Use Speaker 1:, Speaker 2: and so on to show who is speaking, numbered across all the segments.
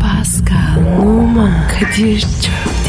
Speaker 1: Pascal, Oman, Kadir çok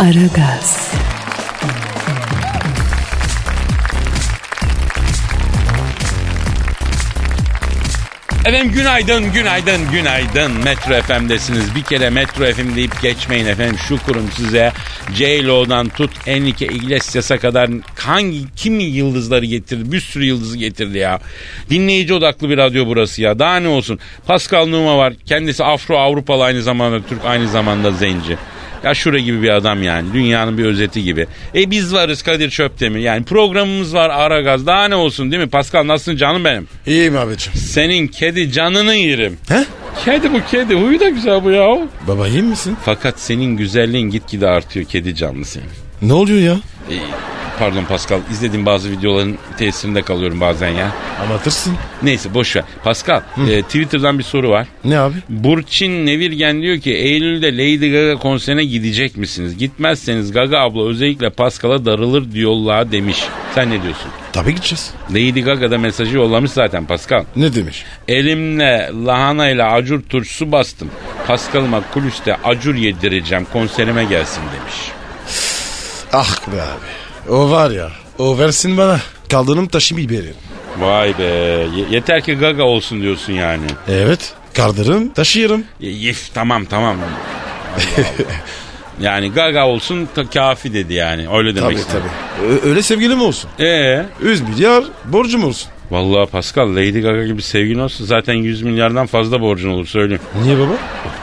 Speaker 1: Aragaz,
Speaker 2: Efendim günaydın, günaydın, günaydın. Metro FM'desiniz. Bir kere Metro FM deyip geçmeyin efendim. Şükürüm size. J-Lo'dan tut Enrique Iglesias'a kadar hangi kimi yıldızları getirdi? Bir sürü yıldızı getirdi ya. Dinleyici odaklı bir radyo burası ya. Daha ne olsun. Pascal Numa var. Kendisi Afro Avrupalı aynı zamanda Türk aynı zamanda Zenci. Ya şura gibi bir adam yani. Dünyanın bir özeti gibi. E biz varız Kadir Çöptemir. Yani programımız var Aragaz. Daha ne olsun değil mi? Pascal nasılsın canım benim?
Speaker 3: İyiyim abicim.
Speaker 2: Senin kedi canını yerim.
Speaker 3: He?
Speaker 2: Kedi bu kedi. Huyu da güzel bu ya.
Speaker 3: Baba iyi misin?
Speaker 2: Fakat senin güzelliğin gitgide artıyor kedi canlı senin.
Speaker 3: Ne oluyor ya?
Speaker 2: Ee, pardon Pascal izlediğim bazı videoların tesirinde kalıyorum bazen ya.
Speaker 3: Anlatırsın.
Speaker 2: Neyse boş ver. Pascal e, Twitter'dan bir soru var.
Speaker 3: Ne abi?
Speaker 2: Burçin Nevirgen diyor ki Eylül'de Lady Gaga konserine gidecek misiniz? Gitmezseniz Gaga abla özellikle Pascal'a darılır diyorlar demiş. Sen ne diyorsun?
Speaker 3: Tabii gideceğiz.
Speaker 2: Lady Gaga da mesajı yollamış zaten Pascal.
Speaker 3: Ne demiş?
Speaker 2: Elimle lahanayla acur turşusu bastım. Paskal'ıma kulüste acur yedireceğim konserime gelsin demiş.
Speaker 3: Ah be abi. O var ya. O versin bana. Kaldırım taşı biberin.
Speaker 2: Vay be ye- yeter ki gaga olsun diyorsun yani.
Speaker 3: Evet. Kaldırım taşıyırım.
Speaker 2: Y- Yif tamam tamam. Allah Allah. yani gaga olsun ta- kafi dedi yani öyle demek
Speaker 3: Tabii
Speaker 2: istedim.
Speaker 3: tabii. Ö- öyle sevgilim olsun.
Speaker 2: Ee,
Speaker 3: 100 milyar borcum olsun.
Speaker 2: vallahi Pascal Lady Gaga gibi sevgin olsun zaten 100 milyardan fazla borcun olur söyleyeyim.
Speaker 3: Niye baba?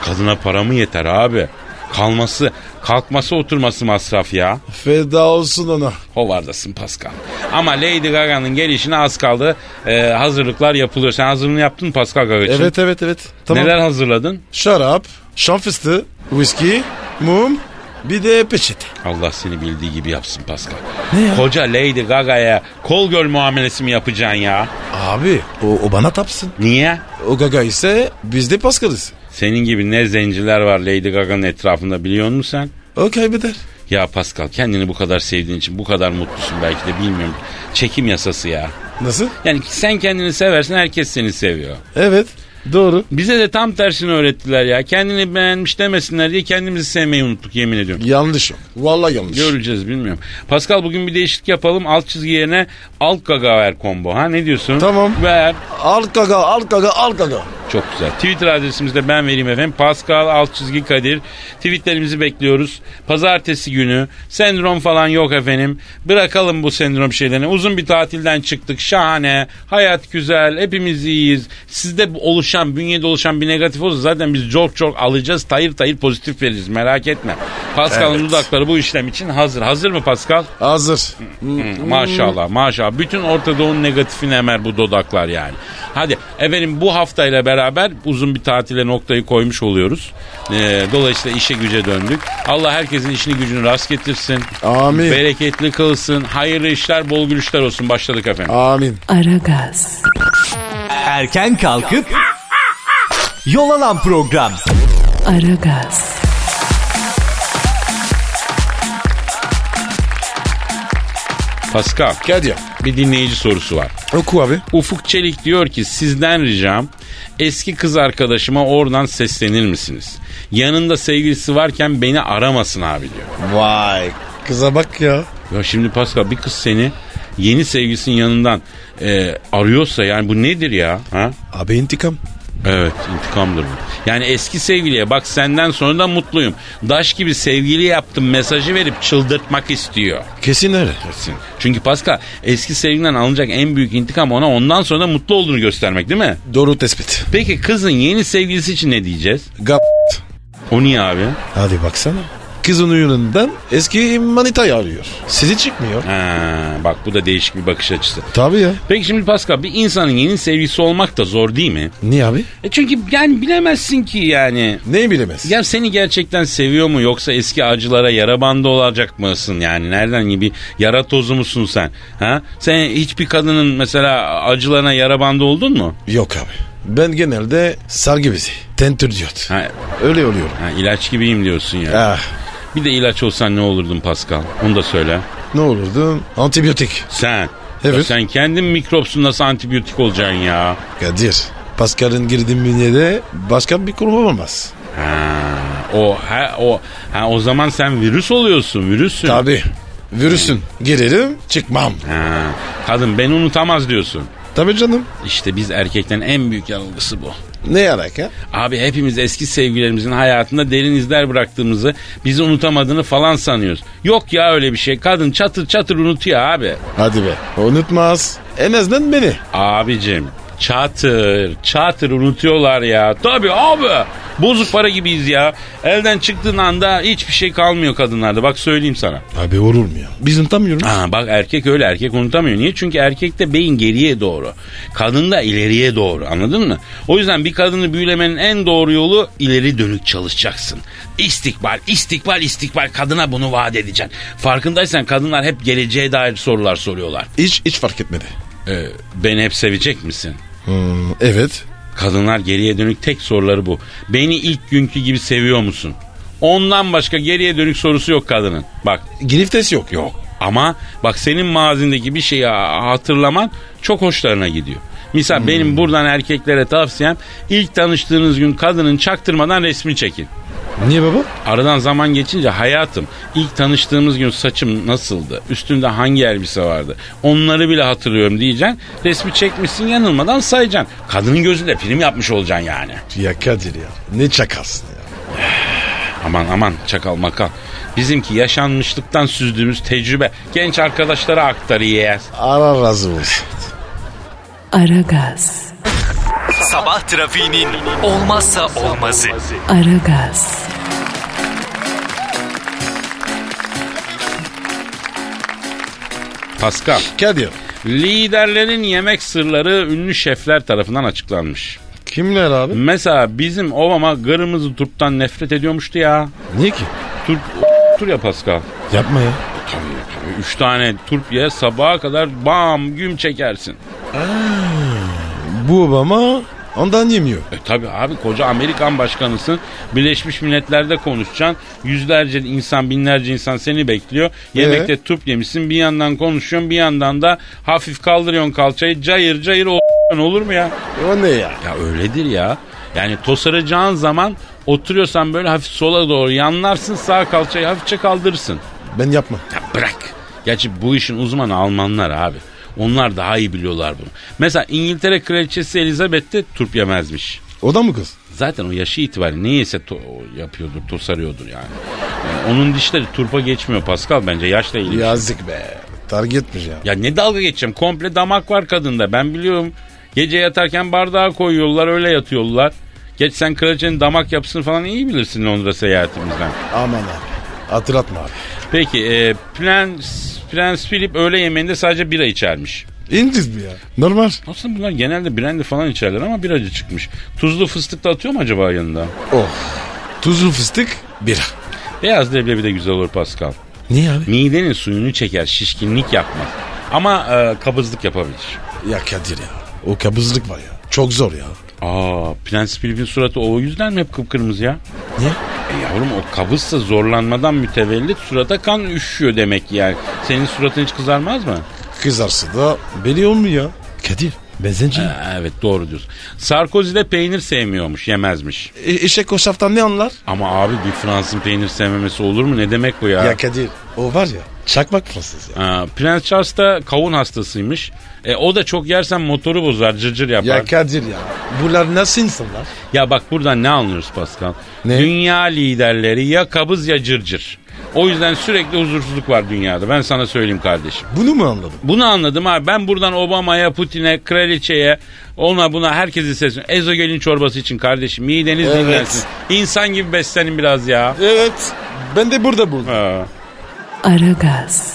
Speaker 2: Kadına para mı yeter abi? Kalması, kalkması, oturması masraf ya.
Speaker 3: Feda olsun ona.
Speaker 2: Hovardasın Pascal. Ama Lady Gaga'nın gelişine az kaldı. Ee, hazırlıklar yapılıyor. Sen hazırlığını yaptın mı Pascal Gaga için?
Speaker 3: Evet evet evet. Tamam.
Speaker 2: Neler hazırladın?
Speaker 3: Şarap, şan fıstığı, viski, mum, bir de peçete.
Speaker 2: Allah seni bildiği gibi yapsın Pascal.
Speaker 3: Ne ya?
Speaker 2: Koca Lady Gaga'ya kol göl muamelesi mi yapacaksın ya?
Speaker 3: Abi o, o bana tapsın.
Speaker 2: Niye?
Speaker 3: O gaga ise biz de paskalız.
Speaker 2: Senin gibi ne zenciler var Lady Gaga'nın etrafında biliyor musun sen?
Speaker 3: O kaybeder.
Speaker 2: Ya Pascal kendini bu kadar sevdiğin için bu kadar mutlusun belki de bilmiyorum. Çekim yasası ya.
Speaker 3: Nasıl?
Speaker 2: Yani sen kendini seversen herkes seni seviyor.
Speaker 3: Evet doğru.
Speaker 2: Bize de tam tersini öğrettiler ya. Kendini beğenmiş demesinler diye kendimizi sevmeyi unuttuk yemin ediyorum.
Speaker 3: Yanlış. Vallahi yanlış.
Speaker 2: Göreceğiz bilmiyorum. Pascal bugün bir değişiklik yapalım. Alt çizgi yerine alt gaga ver combo. Ha ne diyorsun?
Speaker 3: Tamam.
Speaker 2: Ver.
Speaker 3: Al gaga al gaga al gaga.
Speaker 2: Çok güzel. Twitter adresimizde ben vereyim efendim. Pascal alt çizgi Kadir. Tweetlerimizi bekliyoruz. Pazartesi günü. Sendrom falan yok efendim. Bırakalım bu sendrom şeylerini. Uzun bir tatilden çıktık. Şahane. Hayat güzel. Hepimiz iyiyiz. Sizde bu oluşan, bünyede oluşan bir negatif olsa zaten biz çok çok alacağız. Tayır tayır pozitif veririz. Merak etme. Pascal'ın
Speaker 3: Evet.
Speaker 2: dudakları bu işlem için hazır. Hazır mı Pascal?
Speaker 3: Hazır.
Speaker 2: Hı, Maşallah maşallah. Bütün Orta Doğu'nun negatifini emer bu dodaklar yani. Hadi efendim bu haftayla beraber uzun bir tatile noktayı koymuş oluyoruz. Ee, dolayısıyla işe güce döndük. Allah herkesin işini gücünü rast getirsin.
Speaker 3: Amin.
Speaker 2: Bereketli kılsın. Hayırlı işler, bol gülüşler olsun. Başladık efendim.
Speaker 3: Amin.
Speaker 1: Aragaz,
Speaker 4: Erken kalkıp yol alan program.
Speaker 1: Aragaz,
Speaker 2: Pascal,
Speaker 3: Kadir.
Speaker 2: bir dinleyici sorusu var.
Speaker 3: Oku abi.
Speaker 2: Ufuk Çelik diyor ki sizden ricam eski kız arkadaşıma oradan seslenir misiniz? Yanında sevgilisi varken beni aramasın abi diyor.
Speaker 3: Vay. Kıza bak ya.
Speaker 2: Ya şimdi Pascal bir kız seni yeni sevgilisinin yanından e, arıyorsa yani bu nedir ya? Ha?
Speaker 3: Abi intikam.
Speaker 2: Evet intikamdır bu. Yani eski sevgiliye bak senden sonra da mutluyum. Daş gibi sevgili yaptım mesajı verip çıldırtmak istiyor.
Speaker 3: Kesin öyle.
Speaker 2: Kesin. Çünkü Pascal eski sevgilinden alınacak en büyük intikam ona ondan sonra da mutlu olduğunu göstermek değil mi?
Speaker 3: Doğru tespit.
Speaker 2: Peki kızın yeni sevgilisi için ne diyeceğiz?
Speaker 3: Gap.
Speaker 2: O niye abi?
Speaker 3: Hadi baksana. Kızın uyurundan eski manitayı arıyor. Sizi çıkmıyor.
Speaker 2: Ha, bak bu da değişik bir bakış açısı.
Speaker 3: Tabii ya.
Speaker 2: Peki şimdi Pascal bir insanın yeni sevgisi olmak da zor değil mi?
Speaker 3: Niye abi?
Speaker 2: E çünkü yani bilemezsin ki yani.
Speaker 3: Neyi bilemez?
Speaker 2: Ya seni gerçekten seviyor mu yoksa eski acılara yara bandı olacak mısın yani nereden gibi yara tozu musun sen? Ha? Sen hiçbir kadının mesela acılarına yara bandı oldun mu?
Speaker 3: Yok abi. Ben genelde sargı bezi. Tentür diyot.
Speaker 2: Ha,
Speaker 3: Öyle oluyorum.
Speaker 2: ha, ilaç gibiyim diyorsun ya.
Speaker 3: Ah,
Speaker 2: Bir de ilaç olsan ne olurdun Pascal? Onu da söyle.
Speaker 3: ne olurdu? Antibiyotik.
Speaker 2: Sen.
Speaker 3: Evet.
Speaker 2: Ya sen kendin mikropsun nasıl antibiyotik olacaksın ya?
Speaker 3: Kadir. Pascal'ın girdiğim bünyede başka bir kurum olamaz.
Speaker 2: Ha, o ha, o ha, o zaman sen virüs oluyorsun virüsün.
Speaker 3: Tabii. Virüsün. Girerim çıkmam.
Speaker 2: Ha, kadın beni unutamaz diyorsun.
Speaker 3: Tabii canım.
Speaker 2: İşte biz erkeklerin en büyük yanılgısı bu.
Speaker 3: Ne alaka?
Speaker 2: Abi hepimiz eski sevgilerimizin hayatında derin izler bıraktığımızı, bizi unutamadığını falan sanıyoruz. Yok ya öyle bir şey. Kadın çatır çatır unutuyor abi.
Speaker 3: Hadi be. Unutmaz. En azından beni.
Speaker 2: Abicim çatır çatır unutuyorlar ya. Tabii abi. Bozuk para gibiyiz ya. Elden çıktığın anda hiçbir şey kalmıyor kadınlarda. Bak söyleyeyim sana.
Speaker 3: Abi olur mu ya? Biz unutamıyoruz.
Speaker 2: Aa, bak erkek öyle erkek unutamıyor. Niye? Çünkü erkekte beyin geriye doğru. Kadında ileriye doğru anladın mı? O yüzden bir kadını büyülemenin en doğru yolu ileri dönük çalışacaksın. İstikbal, istikbal, istikbal kadına bunu vaat edeceksin. Farkındaysan kadınlar hep geleceğe dair sorular soruyorlar.
Speaker 3: Hiç, hiç fark etmedi.
Speaker 2: Ee, beni hep sevecek misin?
Speaker 3: Hmm, evet.
Speaker 2: Kadınlar geriye dönük tek soruları bu. Beni ilk günkü gibi seviyor musun? Ondan başka geriye dönük sorusu yok kadının. Bak
Speaker 3: Giriftes yok.
Speaker 2: Yok. Ama bak senin mazindeki bir şeyi ha- hatırlaman çok hoşlarına gidiyor. Misal benim buradan erkeklere tavsiyem ilk tanıştığınız gün kadının çaktırmadan resmi çekin.
Speaker 3: Niye baba?
Speaker 2: Aradan zaman geçince hayatım ilk tanıştığımız gün saçım nasıldı? Üstümde hangi elbise vardı? Onları bile hatırlıyorum diyeceksin. Resmi çekmişsin yanılmadan sayacaksın. Kadının gözünde film yapmış olacaksın yani.
Speaker 3: Ya Kadir ya. Ne çakalsın ya.
Speaker 2: Aman aman çakal makal. Bizimki yaşanmışlıktan süzdüğümüz tecrübe genç arkadaşlara aktarıyor.
Speaker 3: Allah razı olsun.
Speaker 1: Aragaz,
Speaker 4: Sabah trafiğinin olmazsa olmazı.
Speaker 1: Aragaz,
Speaker 2: Pascal.
Speaker 3: Kadir.
Speaker 2: Liderlerin yemek sırları ünlü şefler tarafından açıklanmış.
Speaker 3: Kimler abi?
Speaker 2: Mesela bizim Obama kırmızı turptan nefret ediyormuştu ya.
Speaker 3: Niye ki?
Speaker 2: Turp tur ya Pascal.
Speaker 3: Yapma ya.
Speaker 2: Üç tane turp ye sabaha kadar bam güm çekersin.
Speaker 3: Bu Obama ondan yemiyor.
Speaker 2: E tabi abi koca Amerikan başkanısın. Birleşmiş Milletler'de konuşacaksın. Yüzlerce insan binlerce insan seni bekliyor. Yemekte turp yemişsin bir yandan konuşuyorsun bir yandan da hafif kaldırıyorsun kalçayı cayır cayır o olur mu ya?
Speaker 3: O ne ya?
Speaker 2: Ya öyledir ya. Yani tosaracağın zaman oturuyorsan böyle hafif sola doğru yanlarsın sağ kalçayı hafifçe kaldırırsın.
Speaker 3: Ben yapma.
Speaker 2: Ya bırak. Gerçi bu işin uzmanı Almanlar abi. Onlar daha iyi biliyorlar bunu. Mesela İngiltere Kraliçesi Elizabeth de turp yemezmiş.
Speaker 3: O da mı kız?
Speaker 2: Zaten o yaşı itibariyle neyse to- o yapıyordur, tosarıyordur yani. Yani Onun dişleri turpa geçmiyor Pascal bence yaşla ilgili. Ya.
Speaker 3: Yazık be. Targetmiş ya.
Speaker 2: ya ne dalga geçeceğim komple damak var kadında ben biliyorum. Gece yatarken bardağa koyuyorlar öyle yatıyorlar. Geç sen kraliçenin damak yapısını falan iyi bilirsin Londra seyahatimizden.
Speaker 3: Aman abi. Hatırlatma abi.
Speaker 2: Peki e, Prens, Prens Philip öğle yemeğinde sadece bira içermiş.
Speaker 3: İngiliz mi ya? Normal.
Speaker 2: Aslında bunlar genelde brandy falan içerler ama biracı çıkmış. Tuzlu fıstık da atıyor mu acaba yanında?
Speaker 3: Oh. Tuzlu fıstık bira.
Speaker 2: Beyaz leblebi de güzel olur Pascal.
Speaker 3: Niye abi?
Speaker 2: Midenin suyunu çeker, şişkinlik yapmaz. Ama e, kabızlık yapabilir.
Speaker 3: Ya Kadir ya. O kabızlık var ya. Çok zor ya.
Speaker 2: Aa, Prens Philip'in suratı o yüzden mi hep kıpkırmızı ya?
Speaker 3: Niye?
Speaker 2: E yavrum o kabızsa zorlanmadan mütevellit surata kan üşüyor demek yani. Senin suratın hiç kızarmaz mı?
Speaker 3: Kızarsa da belli olmuyor ya. Kadir. Ben zenci.
Speaker 2: Ha, evet doğru diyorsun. Sarkozy de peynir sevmiyormuş, yemezmiş.
Speaker 3: E, eşek o şaftan ne anlar?
Speaker 2: Ama abi bir Fransızın peynir sevmemesi olur mu? Ne demek bu ya?
Speaker 3: Ya Kadir. O var ya. Çakmak Fransız ya.
Speaker 2: Ha, Prens Charles da kavun hastasıymış. E, o da çok yersen motoru bozar, cırcır yapar.
Speaker 3: Ya Kadir ya. Bunlar nasıl insanlar?
Speaker 2: Ya bak buradan ne anlıyoruz Pascal?
Speaker 3: Ne?
Speaker 2: Dünya liderleri ya kabız ya cırcır. O yüzden sürekli huzursuzluk var dünyada. Ben sana söyleyeyim kardeşim.
Speaker 3: Bunu mu anladın?
Speaker 2: Bunu anladım abi. Ben buradan Obama'ya, Putin'e, kraliçeye, ona buna herkesi sesleniyorum. Ezogelin çorbası için kardeşim. Mideniz
Speaker 3: Evet.
Speaker 2: dinlensin. İnsan gibi beslenin biraz ya.
Speaker 3: Evet. Ben de burada buldum.
Speaker 2: Ha.
Speaker 1: Aragaz,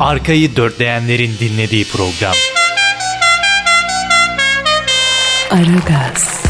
Speaker 4: Arkayı dörtleyenlerin dinlediği program.
Speaker 1: Aragaz,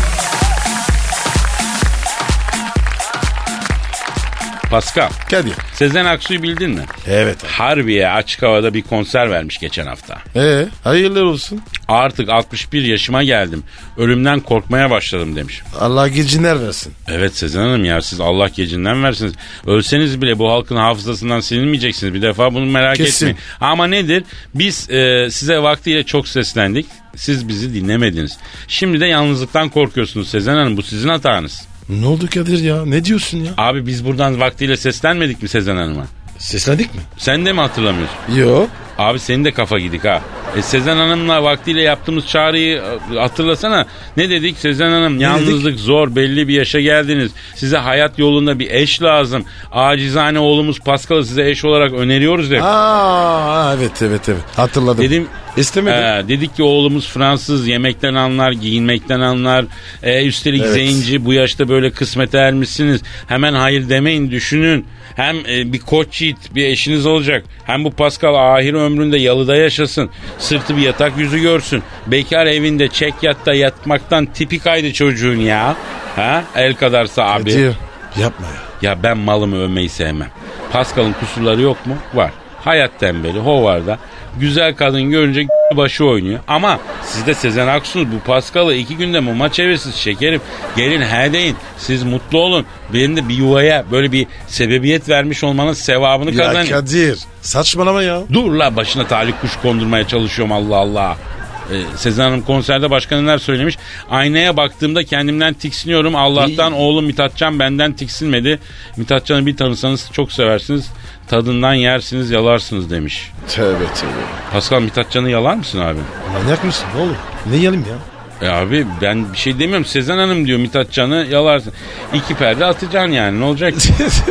Speaker 2: Pascal,
Speaker 3: Kadir.
Speaker 2: Sezen Aksu'yu bildin mi?
Speaker 3: Evet.
Speaker 2: Harbiye açık havada bir konser vermiş geçen hafta.
Speaker 3: Ee, hayırlı olsun.
Speaker 2: Artık 61 yaşıma geldim. Ölümden korkmaya başladım demiş.
Speaker 3: Allah geciner versin.
Speaker 2: Evet Sezen Hanım ya siz Allah gecinden versiniz. Ölseniz bile bu halkın hafızasından silinmeyeceksiniz. Bir defa bunu merak
Speaker 3: Kesin.
Speaker 2: etmeyin. Ama nedir? Biz e, size vaktiyle çok seslendik. Siz bizi dinlemediniz. Şimdi de yalnızlıktan korkuyorsunuz Sezen Hanım. Bu sizin hatanız.
Speaker 3: Ne oldu Kadir ya? Ne diyorsun ya?
Speaker 2: Abi biz buradan vaktiyle seslenmedik mi Sezen Hanım'a?
Speaker 3: Seslendik mi?
Speaker 2: Sen de mi hatırlamıyorsun?
Speaker 3: Yok.
Speaker 2: Abi senin de kafa gidik ha. E Sezen Hanım'la vaktiyle yaptığımız çağrıyı e, hatırlasana. Ne dedik Sezen Hanım? yalnızlık zor belli bir yaşa geldiniz. Size hayat yolunda bir eş lazım. Acizane oğlumuz Paskal'ı size eş olarak öneriyoruz hep.
Speaker 3: Aa evet evet evet. Hatırladım.
Speaker 2: Dedim
Speaker 3: İstemedim.
Speaker 2: Ee, dedik ki oğlumuz Fransız yemekten anlar, giyinmekten anlar. Ee, üstelik
Speaker 3: Evet.
Speaker 2: zenci bu yaşta böyle kısmete ermişsiniz. Hemen hayır demeyin düşünün. Hem e, bir koç yiğit bir eşiniz olacak. Hem bu Pascal ahir ömründe yalıda yaşasın. Sırtı bir yatak yüzü görsün. Bekar evinde çek yatta yatmaktan tipi kaydı çocuğun ya. Ha? El kadarsa abi.
Speaker 3: Kadir, Yapma ya.
Speaker 2: Ya ben malımı övmeyi sevmem. Pascal'ın kusurları yok mu? Var. Hayat tembeli, hovarda. Güzel kadın görünce başı oynuyor. Ama siz de Sezen Aksu'nuz. Bu Pascal'ı iki günde muma çevirsiniz şekerim. Gelin he deyin. Siz mutlu olun. Benim de bir yuvaya böyle bir sebebiyet vermiş olmanın sevabını
Speaker 3: Ya
Speaker 2: kazanın.
Speaker 3: Kadir saçmalama ya.
Speaker 2: Dur la başına talih kuş kondurmaya çalışıyorum Allah Allah. Ee, Sezen Hanım konserde başka neler söylemiş. Aynaya baktığımda kendimden tiksiniyorum. Allah'tan oğlum Mithatcan benden tiksinmedi. Mithatcan'ı bir tanısanız çok seversiniz. Tadından yersiniz yalarsınız demiş.
Speaker 3: Tövbe tövbe.
Speaker 2: Pascal Mithatcan'ı yalar mısın abi?
Speaker 3: Manyak mısın oğlum? Ne yiyelim ya?
Speaker 2: E abi ben bir şey demiyorum. Sezen Hanım diyor Mithatcan'ı yalarsın. İki perde atacaksın yani ne olacak?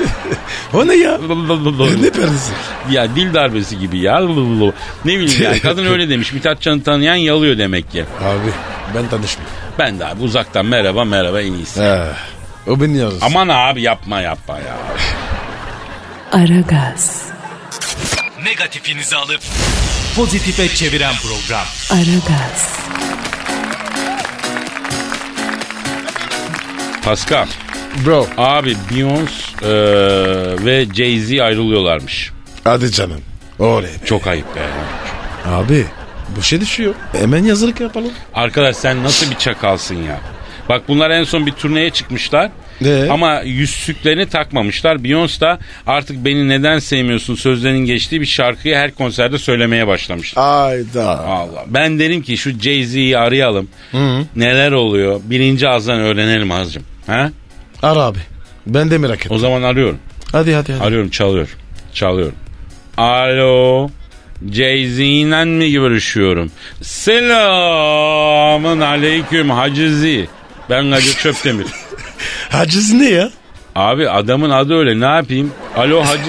Speaker 3: o ne ya? ne perdesi?
Speaker 2: Ya dil darbesi gibi ya. Ne bileyim yani kadın öyle demiş. Mithatcan'ı tanıyan yalıyor demek ki.
Speaker 3: Abi ben tanışmıyorum.
Speaker 2: Ben de abi uzaktan merhaba merhaba en iyisi.
Speaker 3: He. O beni yalnız.
Speaker 2: Aman abi yapma yapma ya.
Speaker 1: Aragaz,
Speaker 4: Negatifinizi alıp pozitife çeviren program.
Speaker 1: Aragaz,
Speaker 2: Pascal
Speaker 3: Bro.
Speaker 2: abi Beyoncé e, ve Jay-Z ayrılıyorlarmış.
Speaker 3: Hadi canım. Oley. be.
Speaker 2: Çok ayıp be.
Speaker 3: Abi bu şey düşüyor. Hemen yazılık yapalım.
Speaker 2: Arkadaş sen nasıl bir çakalsın ya. Bak bunlar en son bir turneye çıkmışlar.
Speaker 3: Ee?
Speaker 2: Ama yüzsüklerini takmamışlar. Beyoncé da artık beni neden sevmiyorsun sözlerinin geçtiği bir şarkıyı her konserde söylemeye başlamış.
Speaker 3: Ayda.
Speaker 2: Allah. Ben derim ki şu Jay-Z'yi arayalım. Neler oluyor? Birinci ağızdan öğrenelim azıcım. Ha?
Speaker 3: Ara abi. Ben de merak ettim.
Speaker 2: O zaman arıyorum.
Speaker 3: Hadi hadi hadi.
Speaker 2: Arıyorum çalıyor. Çalıyorum. Alo. Jay-Z'yle mi görüşüyorum? Selamın aleyküm Hacı Z. Ben Hacı Çöptemir.
Speaker 3: Haciz ne ya?
Speaker 2: Abi adamın adı öyle ne yapayım? Alo Hacı...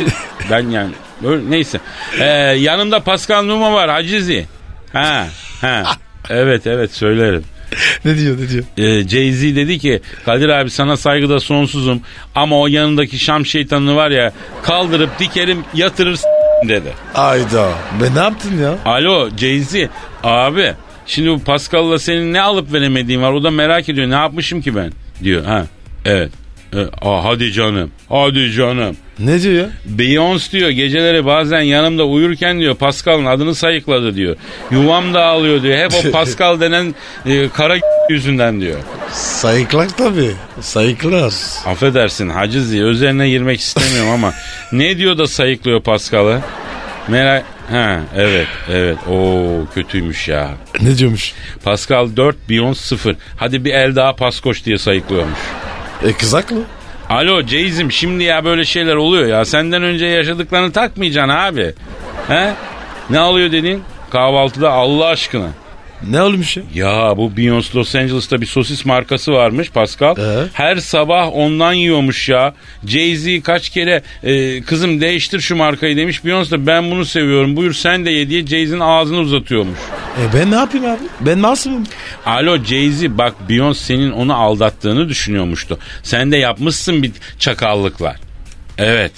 Speaker 2: ben yani böyle, neyse. Ee, yanımda Pascal Numa var Hacı Z. Ha, ha. Evet evet söylerim.
Speaker 3: Ne diyor ne diyor?
Speaker 2: Ee, Jay-Z dedi ki Kadir abi sana saygıda sonsuzum ama o yanındaki Şam şeytanını var ya kaldırıp dikerim yatırır s- dedi.
Speaker 3: Ayda. Ben ne yaptın ya?
Speaker 2: Alo Jay-Z abi şimdi bu Pascal'la senin ne alıp veremediğin var o da merak ediyor ne yapmışım ki ben diyor. Ha evet. E, aa, hadi canım hadi canım.
Speaker 3: Ne diyor ya?
Speaker 2: Beyoncé diyor geceleri bazen yanımda uyurken diyor Pascal'ın adını sayıkladı diyor. Yuvam dağılıyor diyor. Hep o Pascal denen e, kara yüzünden diyor.
Speaker 3: Sayıklar tabii. Sayıklar.
Speaker 2: Affedersin Hacı Ziya üzerine girmek istemiyorum ama ne diyor da sayıklıyor Paskal'ı? Merak... Ha evet evet o kötüymüş ya.
Speaker 3: Ne diyormuş?
Speaker 2: Pascal 4 Beyoncé 0. Hadi bir el daha Paskoş diye sayıklıyormuş.
Speaker 3: E kız haklı.
Speaker 2: Alo Ceyiz'im şimdi ya böyle şeyler oluyor ya. Senden önce yaşadıklarını takmayacaksın abi. He? Ne alıyor dedin? Kahvaltıda Allah aşkına.
Speaker 3: Ne olmuş ya?
Speaker 2: Ya bu Beyoncé Los Angeles'ta bir sosis markası varmış Pascal.
Speaker 3: Ee?
Speaker 2: Her sabah ondan yiyormuş ya. Jay-Z kaç kere e, kızım değiştir şu markayı demiş. Beyoncé de ben bunu seviyorum buyur sen de ye diye Jay-Z'nin ağzını uzatıyormuş.
Speaker 3: E ben ne yapayım abi? Ben masumum.
Speaker 2: Alo Jay-Z bak Beyoncé senin onu aldattığını düşünüyormuştu. Sen de yapmışsın bir çakallıklar. Evet.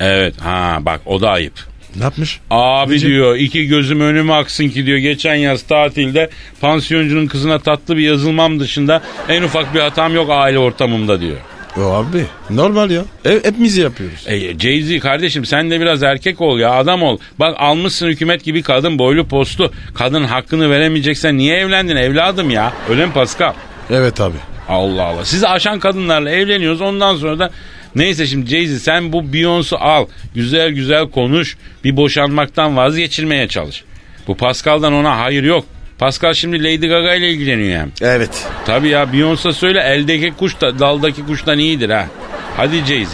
Speaker 2: Evet. Ha bak o da ayıp.
Speaker 3: Ne yapmış?
Speaker 2: Abi
Speaker 3: Nice-
Speaker 2: diyor iki gözüm önüme aksın ki diyor geçen yaz tatilde pansiyoncunun kızına tatlı bir yazılmam dışında en ufak bir hatam yok aile ortamımda diyor.
Speaker 3: O abi normal ya. Hep, hepimiz yapıyoruz.
Speaker 2: E, Jay-Z kardeşim sen de biraz erkek ol ya adam ol. Bak almışsın hükümet gibi kadın boylu postu. Kadın hakkını veremeyeceksen niye evlendin evladım ya? Öyle mi Pascal?
Speaker 3: Evet abi.
Speaker 2: Allah Allah. Sizi aşan kadınlarla evleniyoruz ondan sonra da Neyse şimdi Jay-Z sen bu Beyoncé'u al. Güzel güzel konuş. Bir boşanmaktan vazgeçirmeye çalış. Bu Pascal'dan ona hayır yok. Pascal şimdi Lady Gaga ile ilgileniyor hem.
Speaker 3: Evet.
Speaker 2: Tabii ya Beyoncé söyle eldeki kuş da daldaki kuştan iyidir ha. Hadi Jay-Z.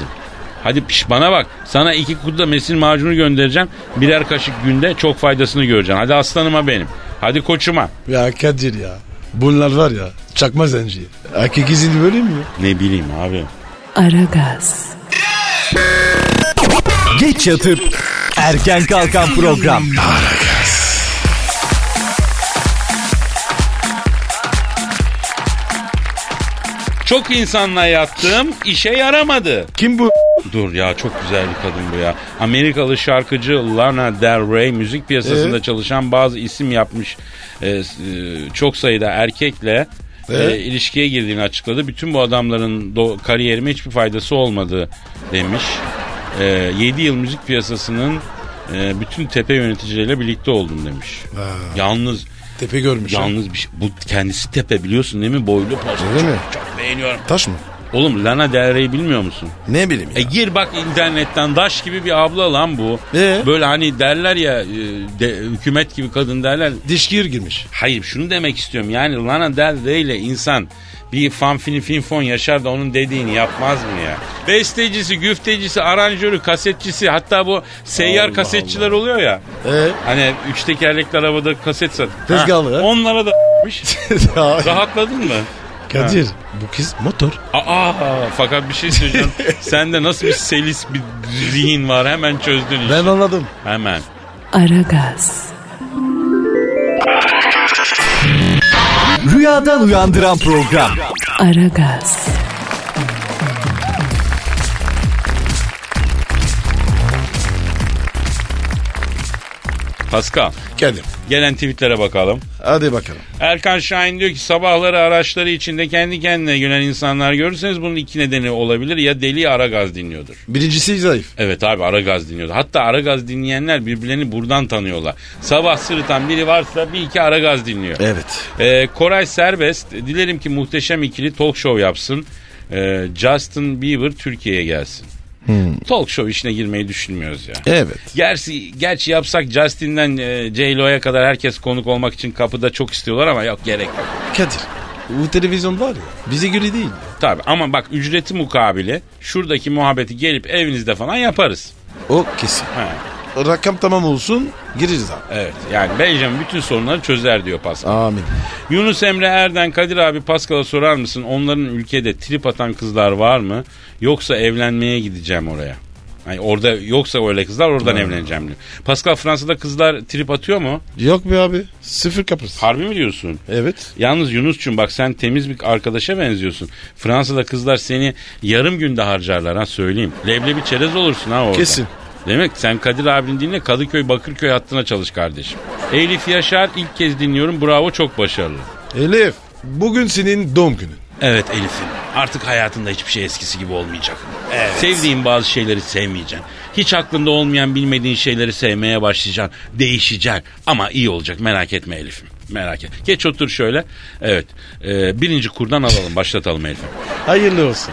Speaker 2: Hadi piş bana bak. Sana iki kutu da mesil macunu göndereceğim. Birer kaşık günde çok faydasını göreceksin. Hadi aslanıma benim. Hadi koçuma.
Speaker 3: Ya Kadir ya. Bunlar var ya çakma zenci. Erkek izini böyle mi? ya?
Speaker 2: Ne bileyim abi.
Speaker 1: Aragaz,
Speaker 4: Geç yatıp erken kalkan program.
Speaker 2: Çok insanla yattım işe yaramadı.
Speaker 3: Kim bu?
Speaker 2: Dur ya çok güzel bir kadın bu ya. Amerikalı şarkıcı Lana Del Rey müzik piyasasında
Speaker 3: Ee?
Speaker 2: çalışan bazı isim yapmış e, s- e, çok sayıda erkekle e,
Speaker 3: Ee?
Speaker 2: ilişkiye girdiğini açıkladı. Bütün bu adamların do- kariyerime hiçbir faydası olmadı demiş. 7 yıl müzik piyasasının e, bütün tepe yöneticileriyle birlikte oldum demiş. Yalnız
Speaker 3: Tepe görmüş. ha.
Speaker 2: yalnız bir şey, bu kendisi tepe biliyorsun değil mi? Boylu postu.
Speaker 3: Öyle mi?
Speaker 2: Çok, çok beğeniyorum.
Speaker 3: Taş mı?
Speaker 2: Oğlum Lana Del Rey'i bilmiyor musun?
Speaker 3: Ne bileyim
Speaker 2: E gir bak internetten daş gibi bir abla lan bu.
Speaker 3: Ee?
Speaker 2: Böyle hani derler ya e, de- hükümet gibi kadın derler.
Speaker 3: Dişgir girmiş.
Speaker 2: Hayır şunu demek istiyorum yani Lana Del Rey ile insan bir fan fini fin fon yaşar da onun dediğini yapmaz mı ya? Bestecisi, güftecisi, aranjörü, kasetçisi hatta bu seyyar
Speaker 3: Allah
Speaker 2: kasetçiler oluyor ya.
Speaker 3: Ee?
Speaker 2: Hani üç tekerlekli arabada kaset sat.
Speaker 3: Tezgahlı,
Speaker 2: Ha,
Speaker 3: ha?
Speaker 2: Onlara da
Speaker 3: Ya,
Speaker 2: Rahatladın mı?
Speaker 3: Kadir bu kız motor.
Speaker 2: Aa fakat bir şey söyleyeceğim. Sende nasıl bir selis bir zihin var hemen çözdün işi.
Speaker 3: Ben anladım.
Speaker 2: Hemen.
Speaker 1: Aragaz,
Speaker 4: Rüyadan uyandıran program.
Speaker 1: Aragaz,
Speaker 2: Pascal
Speaker 3: Kadir.
Speaker 2: gelen tweetlere bakalım.
Speaker 3: Hadi bakalım.
Speaker 2: Erkan Şahin diyor ki sabahları araçları içinde kendi kendine gülen insanlar görürseniz bunun iki nedeni olabilir. Ya deli ya ara gaz dinliyordur.
Speaker 3: Birincisi zayıf.
Speaker 2: Evet abi ara gaz dinliyordu. Hatta ara gaz dinleyenler birbirlerini buradan tanıyorlar. Sabah sırıtan biri varsa bir iki ara gaz dinliyor.
Speaker 3: Evet.
Speaker 2: Ee, Koray Serbest dilerim ki muhteşem ikili talk show yapsın. Ee, Justin Bieber Türkiye'ye gelsin. Talk show işine girmeyi düşünmüyoruz ya.
Speaker 3: Evet.
Speaker 2: Gerçi, gerçi yapsak Justin'den e, J-Lo'ya kadar herkes konuk olmak için kapıda çok istiyorlar ama yok gerek yok.
Speaker 3: Kadir bu televizyon var ya bize göre değil.
Speaker 2: Tabii ama bak ücreti mukabili şuradaki muhabbeti gelip evinizde falan yaparız.
Speaker 3: O kesin.
Speaker 2: Ha,
Speaker 3: Rakam tamam olsun gireriz abi.
Speaker 2: evet yani Benjamin bütün sorunları çözer diyor Pascal.
Speaker 3: Amin.
Speaker 2: Yunus Emre Erden Kadir abi Pascal'a sorar mısın onların ülkede trip atan kızlar var mı yoksa evlenmeye gideceğim oraya. Ay orada yoksa öyle kızlar oradan evleneceğim diyor. Pascal Fransa'da kızlar trip atıyor mu?
Speaker 3: Yok be abi sıfır kapırsın.
Speaker 2: Harbi mi diyorsun?
Speaker 3: Evet.
Speaker 2: Yalnız Yunus'cum bak sen temiz bir arkadaşa benziyorsun. Fransa'da kızlar seni yarım günde harcarlar ha söyleyeyim. Leblebi çerez olursun ha orada.
Speaker 3: Kesin.
Speaker 2: Demek sen Kadir abinin dinle Kadıköy Bakırköy hattına çalış kardeşim. Elif Yaşar ilk kez dinliyorum bravo çok başarılı.
Speaker 3: Elif bugün senin doğum günün.
Speaker 2: Evet Elif'im artık hayatında hiçbir şey eskisi gibi olmayacak. Sevdiğin bazı şeyleri sevmeyeceksin. Hiç aklında olmayan bilmediğin şeyleri sevmeye başlayacaksın. Değişeceksin ama iyi olacak merak etme Elif'im. Merak et. Geç otur şöyle. Evet. e, birinci kurdan alalım. Başlatalım Elif'im.
Speaker 3: Hayırlı olsun.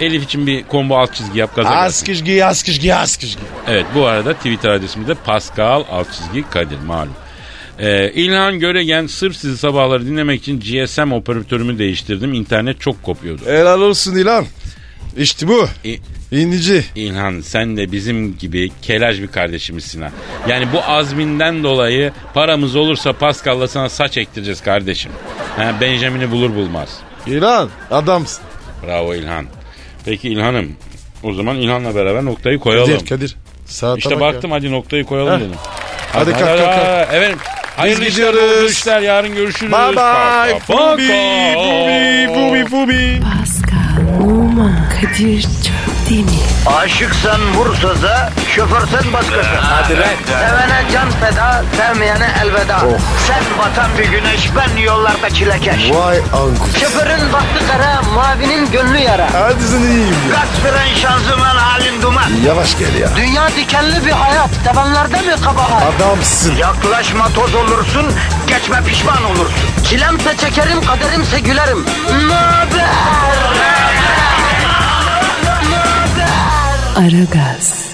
Speaker 2: Elif için bir combo alt çizgi yap. Gaza gelsin.
Speaker 3: Askışgi askışgi askışgi.
Speaker 2: Evet bu arada Twitter adresimiz de Pascal alt çizgi Kadir malum. Ee, İlhan Göregen sırf sizi sabahları dinlemek için GSM operatörümü değiştirdim. İnternet çok kopuyordu. E,
Speaker 3: Helal olsun İlan. İşte bu.
Speaker 2: İ-
Speaker 3: İnici.
Speaker 2: İlhan sen de bizim gibi kelaj bir kardeşimizsin ha. Yani bu azminden dolayı paramız olursa Pascal'la sana saç ektireceğiz kardeşim. Ha, Benjamin'i bulur bulmaz.
Speaker 3: İlan adamsın.
Speaker 2: Bravo İlhan. Peki İlhan'ım o zaman İlhan'la beraber noktayı koyalım.
Speaker 3: Kadir Kadir. Saate bak
Speaker 2: İşte baktım hadi noktayı koyalım
Speaker 3: Heh.
Speaker 2: dedim.
Speaker 3: Hadi kalk, kalk, kalk.
Speaker 2: Efendim hayırlı işler,
Speaker 3: gidiyoruz.
Speaker 2: bol işler yarın görüşürüz.
Speaker 3: Ya. Bye bye.
Speaker 2: Pa, pa, pa, pa.
Speaker 3: Fubi fubi fubi fubi.
Speaker 1: Pascal, Oman, Aragaz. Kadir çok değil mi?
Speaker 5: Aşıksan vursa da, şoförsen başkasın. Hadi
Speaker 2: lan.
Speaker 5: Sevene can feda, sevmeyene elveda. Sen batan bir güneş, ben yollarda çilekeş.
Speaker 3: Vay anku.
Speaker 5: Şoförün baktı kara, mavinin gönlü yara.
Speaker 3: Hadi sen iyiyim ya.
Speaker 5: Kasperen şanzıman halin duman.
Speaker 3: Yavaş gel ya.
Speaker 5: Dünya dikenli bir hayat, sevenlerde mi kabahar?
Speaker 3: Adamsın.
Speaker 5: Yaklaşma toz olursun, geçme pişman olursun. Çilemse çekerim, kaderimse gülerim. Möber!
Speaker 1: Aragaz.